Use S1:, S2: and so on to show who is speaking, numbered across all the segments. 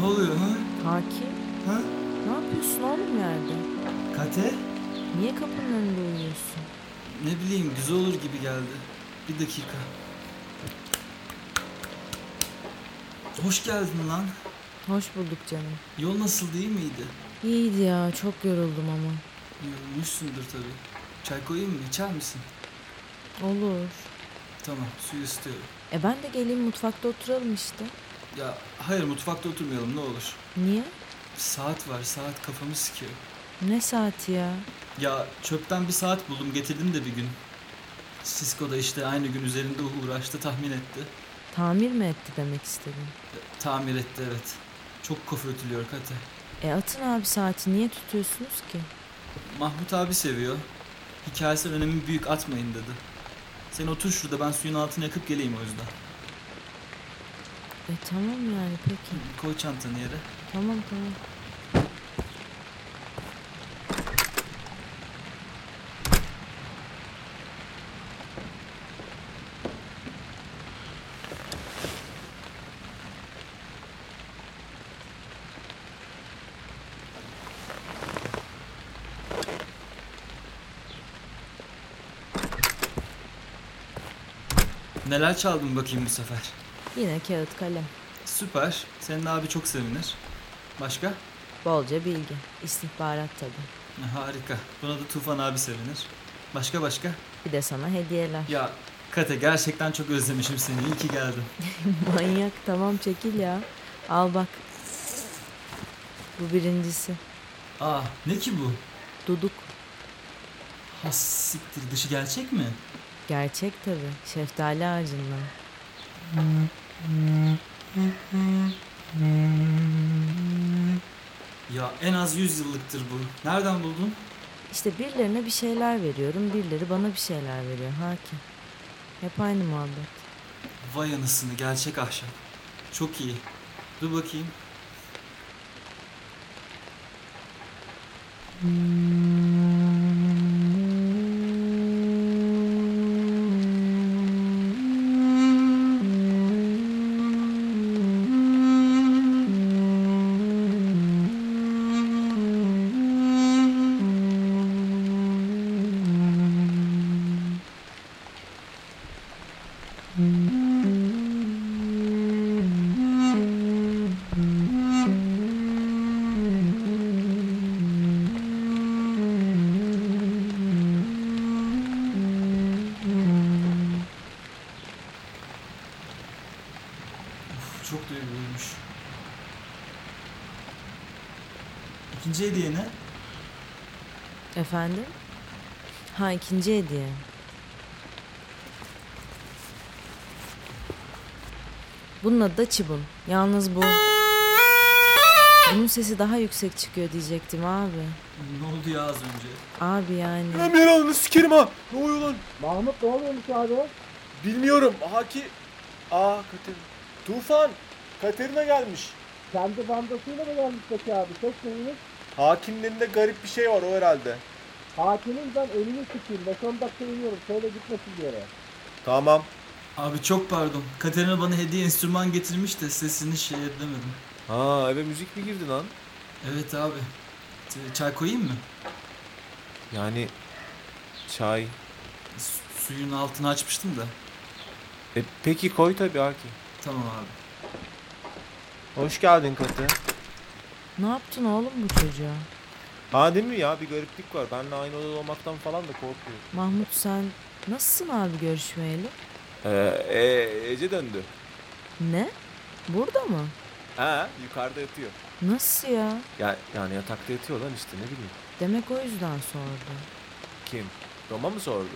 S1: Ne oluyor ha?
S2: Haki,
S1: Ha?
S2: ne yapıyorsun oğlum yerde?
S1: Kate?
S2: Niye kapının önünde uyuyorsun?
S1: Ne bileyim güzel olur gibi geldi. Bir dakika. Hoş geldin lan.
S2: Hoş bulduk canım.
S1: Yol nasıl değil miydi?
S2: İyiydi ya, çok yoruldum ama.
S1: Yorulmuşsundur tabii. Çay koyayım mı? İçer misin?
S2: Olur.
S1: Tamam, suyu istiyorum.
S2: E ben de geleyim mutfakta oturalım işte.
S1: Ya hayır mutfakta oturmayalım ne olur.
S2: Niye?
S1: Saat var, saat kafamı sıkıyor.
S2: Ne saati ya?
S1: Ya çöpten bir saat buldum getirdim de bir gün. Cisco da işte aynı gün üzerinde uğraştı tahmin etti.
S2: Tamir mi etti demek istedim.
S1: E, Tamir etti evet. Çok kafa ötülüyor Kate.
S2: E atın abi saati niye tutuyorsunuz ki?
S1: Mahmut abi seviyor. Hikayesel önemi büyük atmayın dedi. Sen otur şurada ben suyun altını yakıp geleyim o yüzden.
S2: E tamam yani peki.
S1: Koy çantanı yere.
S2: Tamam tamam.
S1: Neler çaldın bakayım bu sefer.
S2: Yine kağıt kalem.
S1: Süper. Senin abi çok sevinir. Başka?
S2: Bolca bilgi. istihbarat tabii.
S1: Ha, Harika. Buna da Tufan abi sevinir. Başka başka?
S2: Bir de sana hediyeler.
S1: Ya Kate gerçekten çok özlemişim seni. İyi ki geldin.
S2: Manyak tamam çekil ya. Al bak. Bu birincisi.
S1: Aa ne ki bu?
S2: Duduk.
S1: Ha siktir dışı gerçek mi?
S2: Gerçek tabi. Şeftali ağacından.
S1: Ya en az 100 yıllıktır bu. Nereden buldun?
S2: İşte birilerine bir şeyler veriyorum. Birileri bana bir şeyler veriyor. Haki. Hep aynı muhabbet.
S1: Vay anasını gerçek ahşap. Çok iyi. Dur bakayım. Uf, çok duyguluymuş. İkinci hediye ne?
S2: Efendim? Ha ikinci hediye. Bunun adı da çibun. Yalnız bu. Bunun sesi daha yüksek çıkıyor diyecektim abi.
S1: Ne oldu ya az önce?
S2: Abi yani.
S3: Lan belanı sikerim ha. Ne oluyor lan?
S4: Mahmut ne oluyormuş abi?
S3: Bilmiyorum. Haki. Aa Katerina. Tufan. Katerina gelmiş.
S4: Kendi bandasıyla mı gelmiş peki abi? Çok sevinir.
S3: Hakimin elinde garip bir şey var o herhalde.
S4: Hakimin ben elini sıkayım. 5-10 dakika iniyorum. Şöyle gitmesin bir yere.
S3: Tamam.
S1: Abi çok pardon. Katerina bana hediye enstrüman getirmiş de sesini şey edemedim.
S3: Ha eve müzik mi girdi lan?
S1: Evet abi. Ç- Çay koyayım mı?
S3: Yani çay.
S1: Su- suyun altını açmıştım da.
S3: E, peki koy tabii Haki.
S1: Tamam abi.
S3: Hoş geldin Katı.
S2: Ne yaptın oğlum bu çocuğa?
S3: Ha değil mi ya bir gariplik var. Benle aynı odada olmaktan falan da korkuyorum.
S2: Mahmut sen nasılsın abi görüşmeyeli?
S3: Ee, e, Ece döndü.
S2: Ne? Burada mı?
S3: Ha yukarıda yatıyor.
S2: Nasıl ya?
S3: Ya, yani yatakta yatıyor lan işte ne bileyim.
S2: Demek o yüzden sordu.
S3: Kim? Roma mı sordu?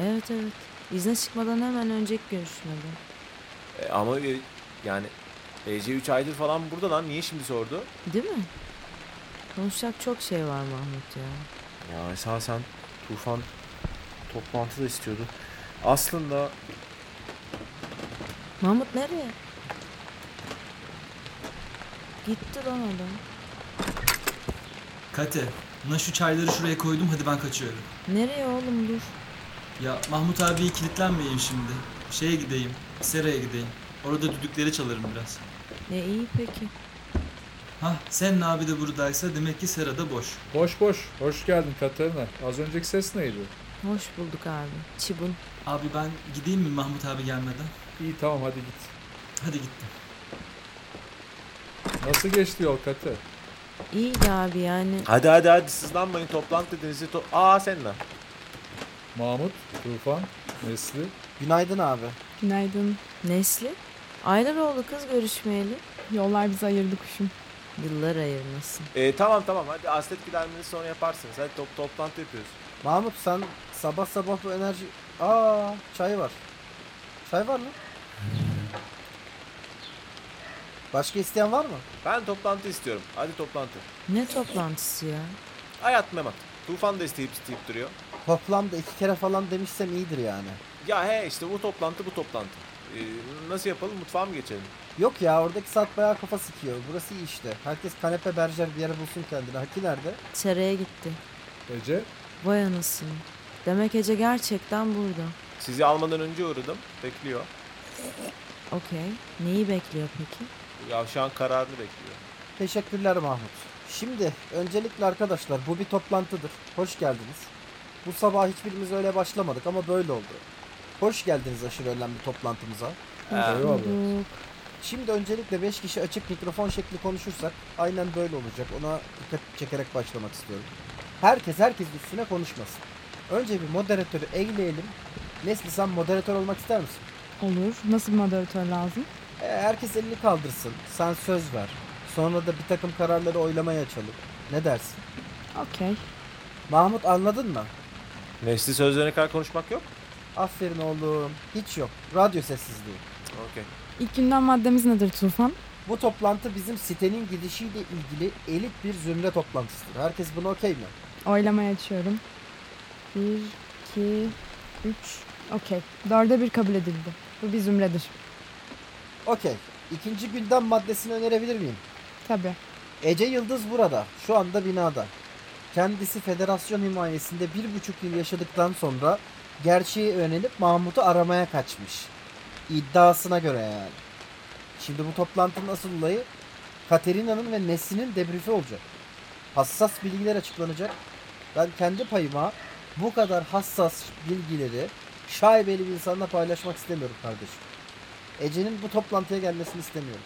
S2: Evet evet. İzne çıkmadan hemen önceki görüşmede.
S3: E, ama e, yani Ece 3 aydır falan burada lan niye şimdi sordu?
S2: Değil mi? Konuşacak çok şey var Mahmut ya.
S3: Ya esasen Tufan toplantı da istiyordu. Aslında
S2: Mahmut nereye? Gitti lan adam.
S1: Kate, buna şu çayları şuraya koydum hadi ben kaçıyorum.
S2: Nereye oğlum dur.
S1: Ya Mahmut abiye kilitlenmeyeyim şimdi. Şeye gideyim, seraya gideyim. Orada düdükleri çalarım biraz.
S2: E iyi peki.
S1: Hah sen abi de buradaysa demek ki Sera da boş.
S5: Boş boş. Hoş geldin Katerina. Az önceki ses neydi?
S2: Hoş bulduk abi. Çibun.
S1: Abi ben gideyim mi Mahmut abi gelmeden?
S5: İyi tamam hadi git.
S1: Hadi gittim.
S5: Nasıl geçti yol Kater?
S2: İyiydi abi yani.
S3: Hadi hadi hadi sızlanmayın toplan dediğinizi to Aa Senna.
S5: Mahmut, Tufan, Nesli.
S6: Günaydın abi.
S7: Günaydın.
S2: Nesli? Aylar oldu kız görüşmeyeli.
S7: Yollar bizi ayırdı kuşum.
S2: Yıllar ayırmasın.
S3: Ee, tamam tamam hadi aslet gidermenizi sonra yaparsınız. Hadi top toplantı yapıyoruz.
S6: Mahmut sen sabah sabah bu enerji... Aa çay var. Çay var mı? Başka isteyen var mı?
S3: Ben toplantı istiyorum. Hadi toplantı.
S2: Ne toplantısı ya?
S3: Hayat memat. Tufan da isteyip isteyip duruyor.
S6: Toplamda iki kere falan demişsem iyidir yani.
S3: Ya he işte bu toplantı bu toplantı. Ee, nasıl yapalım mutfağa mı geçelim?
S6: Yok ya oradaki saat bayağı kafa sıkıyor. Burası iyi işte. Herkes kanepe berjer bir yere bulsun kendini. Haki nerede?
S2: Seraya gitti.
S5: Ece,
S2: Vay anasını. Demek Ece gerçekten burada.
S3: Sizi almadan önce uğradım. Bekliyor.
S2: Okey. Neyi bekliyor peki?
S3: Yavşan kararını bekliyor.
S6: Teşekkürler Mahmut. Şimdi öncelikle arkadaşlar bu bir toplantıdır. Hoş geldiniz. Bu sabah hiçbirimiz öyle başlamadık ama böyle oldu. Hoş geldiniz aşırı önemli toplantımıza.
S3: Ha.
S5: eyvallah.
S6: Şimdi öncelikle 5 kişi açık mikrofon şekli konuşursak aynen böyle olacak. Ona dikkat çekerek başlamak istiyorum. Herkes herkes üstüne konuşmasın. Önce bir moderatörü eğleyelim. Nesli sen moderatör olmak ister misin?
S7: Olur. Nasıl bir moderatör lazım?
S6: E, herkes elini kaldırsın. Sen söz ver. Sonra da bir takım kararları oylamaya açalım. Ne dersin?
S7: Okey.
S6: Mahmut anladın mı?
S3: Nesli sözlerine kadar konuşmak yok.
S6: Aferin oğlum. Hiç yok. Radyo sessizliği.
S3: Okey.
S7: İlk günden maddemiz nedir Tufan?
S6: Bu toplantı bizim sitenin gidişiyle ilgili elit bir zümre toplantısıdır. Herkes buna okey mi?
S7: Oylamaya açıyorum. Bir, iki, üç. Okey. Dörde bir kabul edildi. Bu bir zümredir.
S6: Okey. İkinci gündem maddesini önerebilir miyim?
S7: Tabii.
S6: Ece Yıldız burada. Şu anda binada. Kendisi federasyon himayesinde bir buçuk yıl yaşadıktan sonra gerçeği öğrenip Mahmut'u aramaya kaçmış. İddiasına göre yani. Şimdi bu toplantının asıl olayı Katerina'nın ve Nesli'nin debrifi olacak. Hassas bilgiler açıklanacak. Ben kendi payıma bu kadar hassas bilgileri şaibeli bir insanla paylaşmak istemiyorum kardeşim. Ece'nin bu toplantıya gelmesini istemiyorum.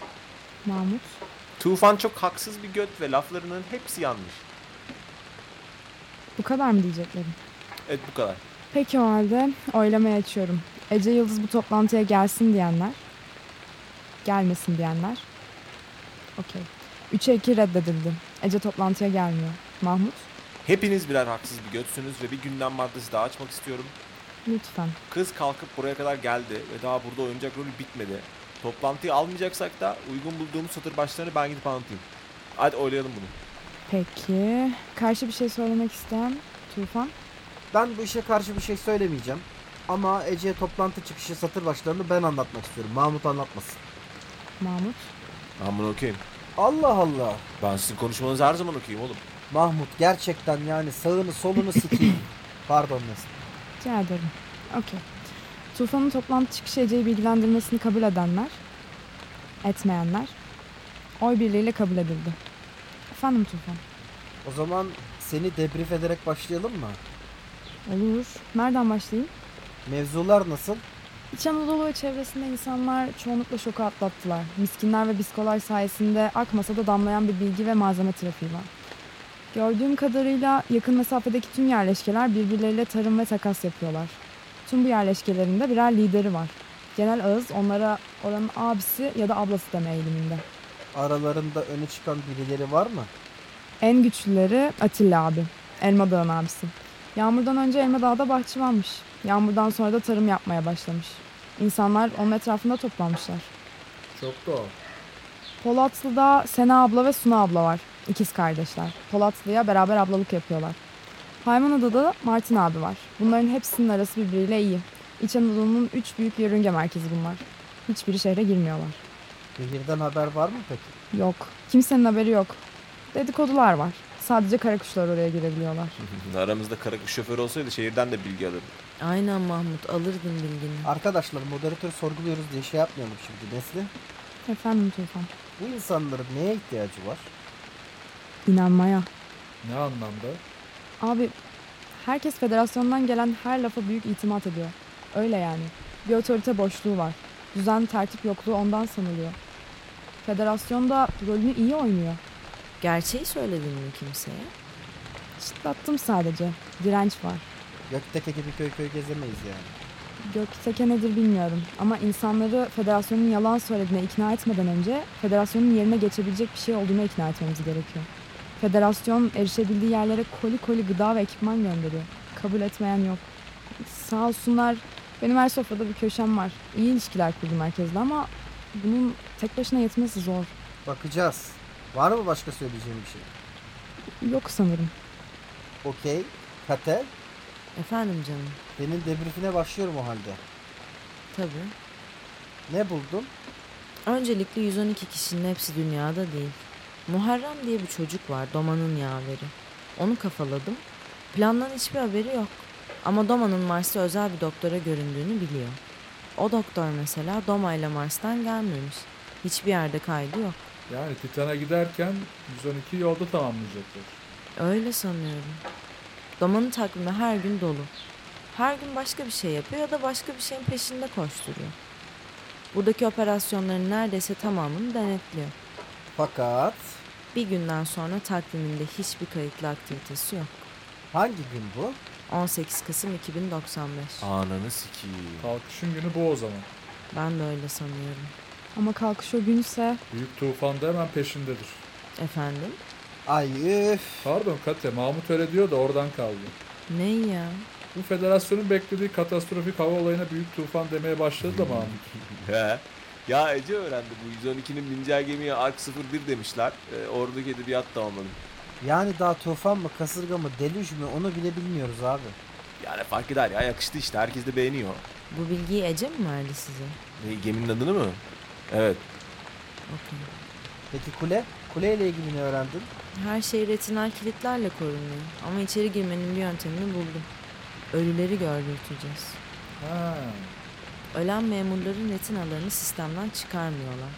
S7: Mahmut.
S3: Tufan çok haksız bir göt ve laflarının hepsi yanlış.
S7: Bu kadar mı diyeceklerim?
S3: Evet bu kadar.
S7: Peki o halde oylamaya açıyorum. Ece Yıldız bu toplantıya gelsin diyenler. Gelmesin diyenler. Okey. 3'e 2 reddedildi. Ece toplantıya gelmiyor. Mahmut.
S3: Hepiniz birer haksız bir götsünüz ve bir gündem maddesi daha açmak istiyorum.
S7: Lütfen.
S3: Kız kalkıp buraya kadar geldi ve daha burada oyuncak rolü bitmedi. Toplantıyı almayacaksak da uygun bulduğum satır başlarını ben gidip anlatayım. Hadi oylayalım bunu.
S7: Peki. Karşı bir şey söylemek isteyen Tufan.
S6: Ben bu işe karşı bir şey söylemeyeceğim. Ama Ece'ye toplantı çıkışı satır başlarını ben anlatmak istiyorum. Mahmut anlatmasın.
S7: Mahmut.
S3: Ben bunu okuyayım.
S6: Allah Allah.
S3: Ben sizin konuşmanızı her zaman okuyayım oğlum.
S6: Mahmut gerçekten yani sağını solunu sikeyim. Pardon Mesut.
S7: Rica ederim. Okey. Tufan'ın toplantı çıkışı Ece'yi bilgilendirmesini kabul edenler. Etmeyenler. Oy birliğiyle kabul edildi. Efendim Tufan.
S6: O zaman seni debrief ederek başlayalım mı?
S7: Olur. Nereden başlayayım?
S6: Mevzular nasıl?
S7: İç Anadolu ve çevresinde insanlar çoğunlukla şoku atlattılar. Miskinler ve biskolar sayesinde akmasa da damlayan bir bilgi ve malzeme trafiği var. Gördüğüm kadarıyla yakın mesafedeki tüm yerleşkeler birbirleriyle tarım ve takas yapıyorlar. Tüm bu yerleşkelerin de birer lideri var. Genel ağız onlara oranın abisi ya da ablası deme eğiliminde.
S6: Aralarında öne çıkan birileri var mı?
S7: En güçlüleri Atilla abi. Elma Dağı'nın abisi. Yağmurdan önce Elma Dağı'da bahçıvanmış. Yağmurdan sonra da tarım yapmaya başlamış. İnsanlar onun etrafında toplanmışlar.
S5: Çok doğal.
S7: Polatlı'da Sena abla ve Suna abla var. İkiz kardeşler. Polatlı'ya beraber ablalık yapıyorlar. Haymanada'da da Martin abi var. Bunların hepsinin arası birbiriyle iyi. İç Anadolu'nun üç büyük yörünge merkezi bunlar. Hiçbiri şehre girmiyorlar.
S6: Şehirden haber var mı peki?
S7: Yok. Kimsenin haberi yok. Dedikodular var. Sadece kara kuşlar oraya girebiliyorlar.
S3: Aramızda kara kuş şoförü olsaydı şehirden de bilgi alırdım.
S2: Aynen Mahmut alırdın bilgini.
S6: Arkadaşlar moderatörü sorguluyoruz diye şey yapmayalım şimdi Nesli.
S7: Efendim Tufan.
S6: Bu insanların neye ihtiyacı var?
S7: inanmaya.
S5: Ne anlamda?
S7: Abi herkes federasyondan gelen her lafa büyük itimat ediyor. Öyle yani. Bir otorite boşluğu var. Düzen tertip yokluğu ondan sanılıyor. Federasyon da rolünü iyi oynuyor.
S2: Gerçeği söyledin mi kimseye?
S7: Çıtlattım sadece. Direnç var.
S6: Gökteke gibi köy köy gezemeyiz yani.
S7: Gökteke nedir bilmiyorum ama insanları federasyonun yalan söylediğine ikna etmeden önce federasyonun yerine geçebilecek bir şey olduğuna ikna etmemiz gerekiyor. Federasyon erişebildiği yerlere koli koli gıda ve ekipman gönderiyor. Kabul etmeyen yok. Sağ olsunlar benim her sofrada bir köşem var. İyi ilişkiler kurdum herkesle ama bunun tek başına yetmesi zor.
S6: Bakacağız. Var mı başka söyleyeceğim bir şey?
S7: Yok sanırım.
S6: Okey. Kate.
S2: Efendim canım.
S6: Senin debriefine başlıyorum o halde.
S2: Tabii.
S6: Ne buldun?
S2: Öncelikle 112 kişinin hepsi dünyada değil. Muharrem diye bir çocuk var Doma'nın yaveri. Onu kafaladım. Plandan hiçbir haberi yok. Ama Doma'nın Mars'ta özel bir doktora göründüğünü biliyor. O doktor mesela Doma ile Mars'tan gelmemiş. Hiçbir yerde kaydı yok.
S5: Yani Titan'a giderken 112 yolda tamamlayacaklar.
S2: Öyle sanıyorum. Doma'nın takvimi her gün dolu. Her gün başka bir şey yapıyor ya da başka bir şeyin peşinde koşturuyor. Buradaki operasyonların neredeyse tamamını denetliyor.
S6: Fakat
S2: Bir günden sonra takviminde hiçbir kayıtlı aktivitesi yok.
S6: hangi gün bu?
S2: 18 Kasım 2095.
S3: Ananı sikiyim.
S5: Kalkışın günü bu o zaman.
S2: Ben de öyle sanıyorum.
S7: Ama kalkış o günse
S5: Büyük tufan da hemen peşindedir.
S2: Efendim?
S6: Ay üf.
S5: Pardon Kate, Mahmut öyle diyor da oradan kaldı.
S2: Ne ya?
S5: Bu federasyonun beklediği katastrofik hava olayına büyük tufan demeye başladı da Mahmut.
S3: He. Ya Ece öğrendi bu 112'nin bineceği gemiye Ark 01 demişler. Ee, oradaki edebiyat da olmadı.
S6: Yani daha tufan mı kasırga mı delüj mü onu bile bilmiyoruz abi.
S3: Yani fark eder ya yakıştı işte herkes de beğeniyor.
S2: Bu bilgiyi Ece mi verdi size?
S3: Ne, geminin adını mı? Evet.
S2: Okey.
S6: Peki kule? Kuleyle ilgili ne öğrendin?
S2: Her şey retinal kilitlerle korunuyor. Ama içeri girmenin bir yöntemini buldum. Ölüleri gördürteceğiz.
S5: Ha.
S2: Ölen memurların retinalarını sistemden çıkarmıyorlar.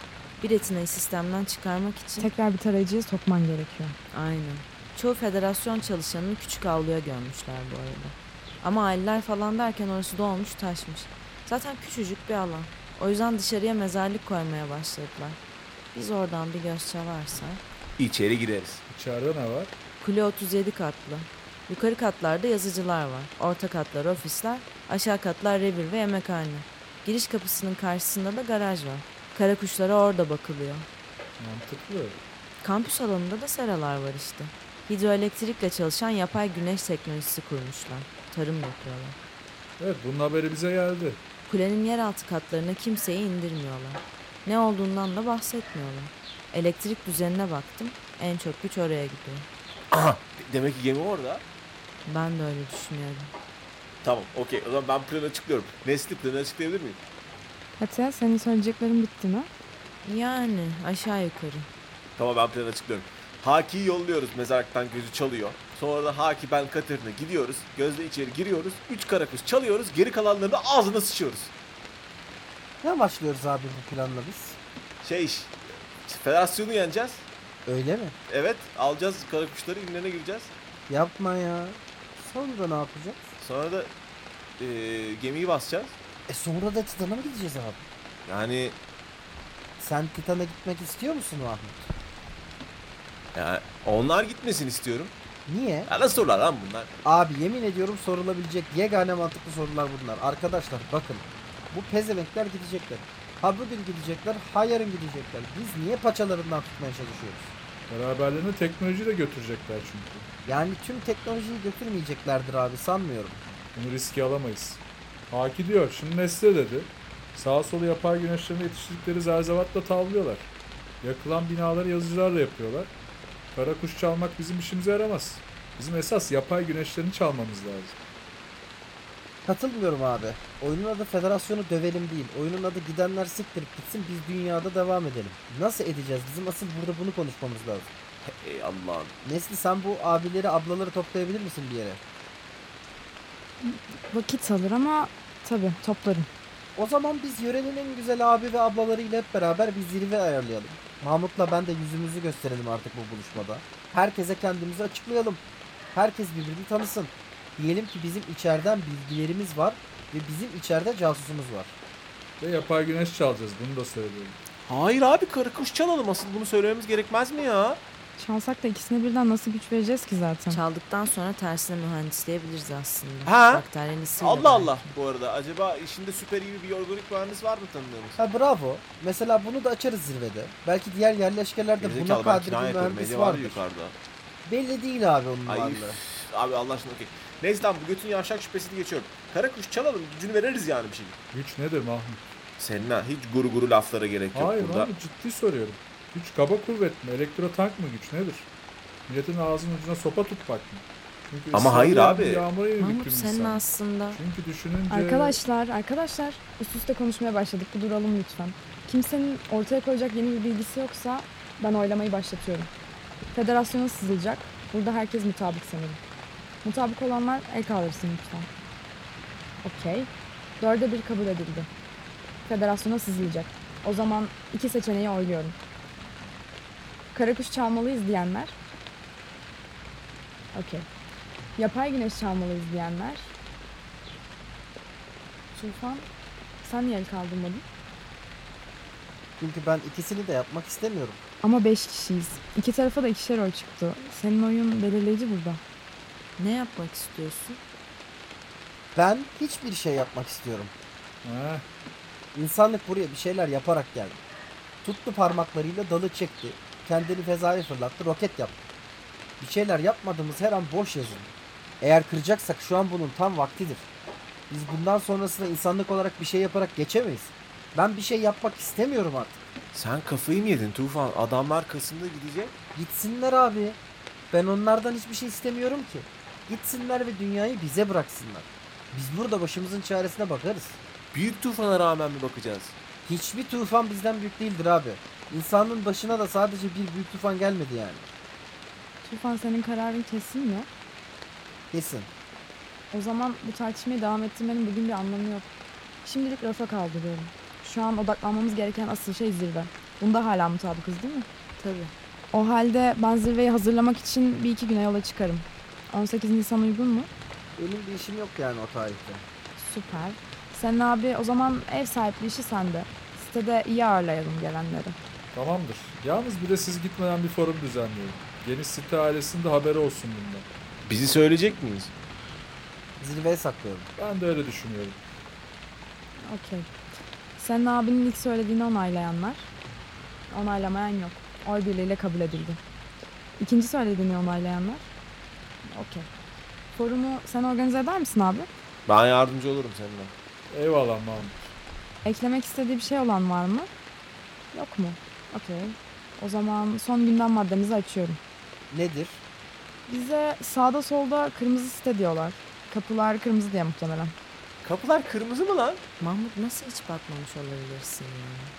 S2: Bir retinayı sistemden çıkarmak için...
S7: tekrar bir tarayıcıya sokman gerekiyor.
S2: Aynen. Çoğu federasyon çalışanını küçük avluya gömmüşler bu arada. Ama aileler falan derken orası dolmuş taşmış. Zaten küçücük bir alan. O yüzden dışarıya mezarlık koymaya başladılar. Biz oradan bir göz varsa.
S3: İçeri gireriz.
S5: İçeride ne var?
S2: Kule 37 katlı. Yukarı katlarda yazıcılar var. Orta katlar ofisler, aşağı katlar revir ve yemekhane. Giriş kapısının karşısında da garaj var. Kara kuşlara orada bakılıyor.
S5: Mantıklı.
S2: Kampüs alanında da seralar var işte. Hidroelektrikle çalışan yapay güneş teknolojisi kurmuşlar. Tarım yapıyorlar.
S5: Evet bunun haberi bize geldi.
S2: Kulenin yeraltı katlarına kimseyi indirmiyorlar. Ne olduğundan da bahsetmiyorlar. Elektrik düzenine baktım. En çok güç oraya gidiyor.
S3: De- Demek ki gemi orada.
S2: Ben de öyle düşünüyorum.
S3: Tamam okey o zaman ben planı açıklıyorum. Nesli planı açıklayabilir miyim?
S7: Hatta senin söyleyeceklerin bitti mi?
S2: Yani aşağı yukarı.
S3: Tamam ben planı açıklıyorum. Haki'yi yolluyoruz mezarlıktan gözü çalıyor. Sonra da Haki ben Katır'ına gidiyoruz. Gözle içeri giriyoruz. Üç karakuş çalıyoruz. Geri kalanlarını ağzına sıçıyoruz.
S6: Ne başlıyoruz abi bu planla biz?
S3: Şey iş. Federasyonu yeneceğiz.
S6: Öyle mi?
S3: Evet alacağız karakuşları inlerine gireceğiz.
S6: Yapma ya. Sonra ne yapacağız?
S3: Sonra da eee, gemiyi basacağız.
S6: E sonra da Titan'a mı gideceğiz abi?
S3: Yani
S6: Sen Titan'a gitmek istiyor musun Mahmut?
S3: ya onlar gitmesin istiyorum.
S6: Niye?
S3: Ya nasıl sorular lan bunlar?
S6: Abi yemin ediyorum sorulabilecek yegane mantıklı sorular bunlar. Arkadaşlar bakın. Bu pezevenkler gidecekler. Ha bugün gidecekler, ha yarın gidecekler. Biz niye paçalarından tutmaya çalışıyoruz?
S5: Beraberlerini teknolojiyle götürecekler çünkü.
S6: Yani tüm teknolojiyi götürmeyeceklerdir abi sanmıyorum.
S5: Bunu riske alamayız. Haki diyor, şimdi Nesli dedi. Sağa sola yapay güneşlerine yetiştirdikleri zerzevatla tavlıyorlar. Yakılan binaları yazıcılarla yapıyorlar. Kara kuş çalmak bizim işimize yaramaz. Bizim esas yapay güneşlerini çalmamız lazım.
S6: Katılmıyorum abi. Oyunun adı Federasyonu dövelim değil. Oyunun adı gidenler siktirip gitsin biz dünyada devam edelim. Nasıl edeceğiz? Bizim asıl burada bunu konuşmamız lazım.
S3: Ey Allah'ım.
S6: Nesli sen bu abileri ablaları toplayabilir misin bir yere?
S7: Vakit alır ama tabii toplarım.
S6: O zaman biz yörenin en güzel abi ve ablalarıyla hep beraber bir zirve ayarlayalım. Mahmut'la ben de yüzümüzü gösterelim artık bu buluşmada. Herkese kendimizi açıklayalım. Herkes birbirini tanısın. Diyelim ki bizim içeriden bilgilerimiz var ve bizim içeride casusumuz var.
S5: Ve yapay güneş çalacağız bunu da söylüyorum.
S3: Hayır abi karı kuş çalalım asıl bunu söylememiz gerekmez mi ya?
S7: Çalsak da ikisine birden nasıl güç vereceğiz ki zaten?
S2: Çaldıktan sonra tersine mühendisleyebiliriz aslında.
S3: Ha?
S2: Bakterinin ısıyla
S3: Allah
S2: belki.
S3: Allah bu arada acaba işinde süper iyi bir organik mühendis var mı tanıdığımız?
S6: Ha bravo. Mesela bunu da açarız zirvede. Belki diğer yerleşkelerde buna
S3: Gerizekalı ben
S6: kadir bir
S3: kinaye ediyorum.
S6: mühendis
S3: Medya var
S6: vardır.
S3: yukarıda.
S6: Belli değil abi onun
S3: Ay,
S6: varlığı.
S3: üf, abi Allah aşkına okey. Neyse tamam bu götün yavşak şüphesini geçiyorum. Kara kuş çalalım gücünü veririz yani bir şey.
S5: Güç nedir Mahmut?
S3: Senin ha hiç guru guru laflara gerek yok
S5: Hayır
S3: burada.
S5: abi ciddi soruyorum. Güç kaba kuvvet mi? Elektrotank mı güç nedir? Milletin ağzının ucuna sopa tutmak mı? Çünkü
S3: Ama hayır
S5: ısrarla
S3: abi.
S5: bir Yağmura yedik
S2: Mahmut
S5: dün
S2: senin
S5: insan.
S2: aslında
S5: Çünkü düşününce...
S7: Arkadaşlar, arkadaşlar üst üste konuşmaya başladık. Bu duralım lütfen. Kimsenin ortaya koyacak yeni bir bilgisi yoksa ben oylamayı başlatıyorum. Federasyona sızılacak. Burada herkes mutabık sanırım. Mutabık olanlar el kaldırsın lütfen. Okey. Dörde bir kabul edildi. Federasyona sızılacak. O zaman iki seçeneği oyluyorum. Karakuş çalmalıyız diyenler. Okey. Yapay güneş çalmalıyız diyenler. Tufan sen niye el kaldırmadın?
S6: Çünkü ben ikisini de yapmak istemiyorum.
S7: Ama beş kişiyiz. İki tarafa da ikişer oy çıktı. Senin oyun belirleyici burada.
S2: ne yapmak istiyorsun?
S6: Ben hiçbir şey yapmak istiyorum.
S5: Heh,
S6: İnsanlık buraya bir şeyler yaparak geldi. Tuttu parmaklarıyla dalı çekti. Kendini fezaya fırlattı, roket yaptı. Bir şeyler yapmadığımız her an boş yazıldı. Eğer kıracaksak şu an bunun tam vaktidir. Biz bundan sonrasında insanlık olarak bir şey yaparak geçemeyiz. Ben bir şey yapmak istemiyorum artık.
S3: Sen kafayı mı yedin Tufan? Adamlar Kasım'da gidecek.
S6: Gitsinler abi. Ben onlardan hiçbir şey istemiyorum ki. Gitsinler ve dünyayı bize bıraksınlar. Biz burada başımızın çaresine bakarız.
S3: Büyük tufana rağmen mi bakacağız?
S6: Hiçbir tufan bizden büyük değildir abi. İnsanın başına da sadece bir büyük tufan gelmedi yani.
S7: Tufan senin kararın kesin mi?
S6: Kesin.
S7: O zaman bu tartışmayı devam ettirmenin bugün bir anlamı yok. Şimdilik rafa kaldırıyorum. Şu an odaklanmamız gereken asıl şey zirve. Bunda hala mutabıkız değil mi?
S2: Tabii.
S7: O halde ben zirveyi hazırlamak için bir iki güne yola çıkarım. 18 Nisan uygun mu?
S6: Benim bir işim yok yani o tarihte.
S7: Süper. Sen abi o zaman ev sahipliği işi sende. Sitede iyi ağırlayalım gelenleri.
S5: tamamdır. Yalnız bir de siz gitmeden bir forum düzenleyin. Geniş site ailesinin de haberi olsun bundan.
S3: Bizi söyleyecek miyiz?
S6: Zirveye saklıyorum.
S5: Ben de öyle düşünüyorum.
S7: Okey. Senin abinin ilk söylediğini onaylayanlar. Onaylamayan yok. Oy birliğiyle kabul edildi. İkinci söylediğini onaylayanlar. Okey. Forumu sen organize eder misin abi?
S3: Ben yardımcı olurum seninle.
S5: Eyvallah Mahmut.
S7: Eklemek istediği bir şey olan var mı? Yok mu? Okey. O zaman son gündem maddemizi açıyorum.
S6: Nedir?
S7: Bize sağda solda kırmızı site diyorlar. Kapılar kırmızı diye muhtemelen.
S3: Kapılar kırmızı mı lan?
S2: Mahmut nasıl hiç bakmamış olabilirsin ya?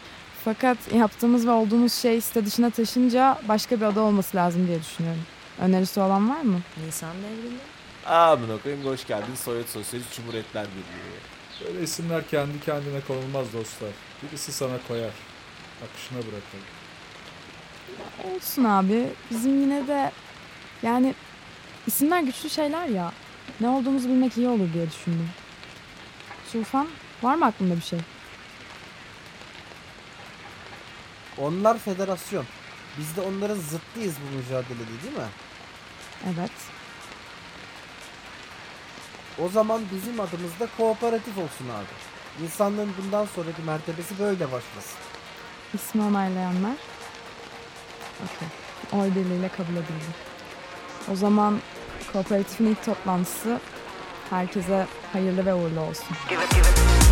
S7: Fakat yaptığımız ve olduğumuz şey site dışına taşınca başka bir ada olması lazım diye düşünüyorum. Önerisi olan var mı?
S2: Nisan devrimi?
S3: Amına koyayım hoş geldin Sovyet Sosyalist Cumhuriyetler Birliği.
S5: Böyle isimler kendi kendine konulmaz dostlar. Birisi sana koyar. Akışına bırakır.
S7: Olsun abi. Bizim yine de yani isimler güçlü şeyler ya. Ne olduğumuzu bilmek iyi olur diye düşündüm. Şufan var mı aklında bir şey?
S6: Onlar federasyon. Biz de onların zıttıyız bu mücadelede değil mi?
S7: Evet.
S6: O zaman bizim adımız da kooperatif olsun abi. İnsanlığın bundan sonraki mertebesi böyle başlasın.
S7: İsmi onaylayanlar. Okey. Oy birliğiyle kabul edildi. O zaman kooperatifin ilk toplantısı herkese hayırlı ve uğurlu olsun.
S8: give it, give it.